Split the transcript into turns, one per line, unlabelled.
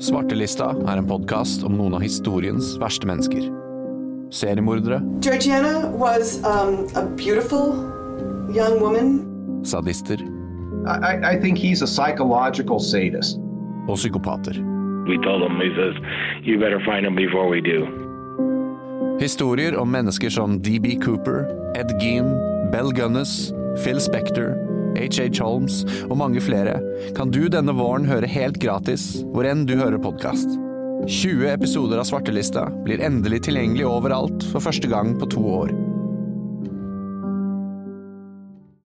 Svartelista er en podkast om noen av historiens verste mennesker. Seriemordere,
Georgiana was um, a beautiful young woman.
sadister
I, I- I think he's a psychological sadist.
og psykopater.
We told him, he says, you better find him before we do.
Historier om mennesker som DB Cooper, Ed Gein, Bell Gunness, Phil Spector, HH Holmes og mange flere kan du denne våren høre helt gratis hvor enn du hører podkast. 20 episoder av Svartelista blir endelig tilgjengelig overalt for første gang på to år.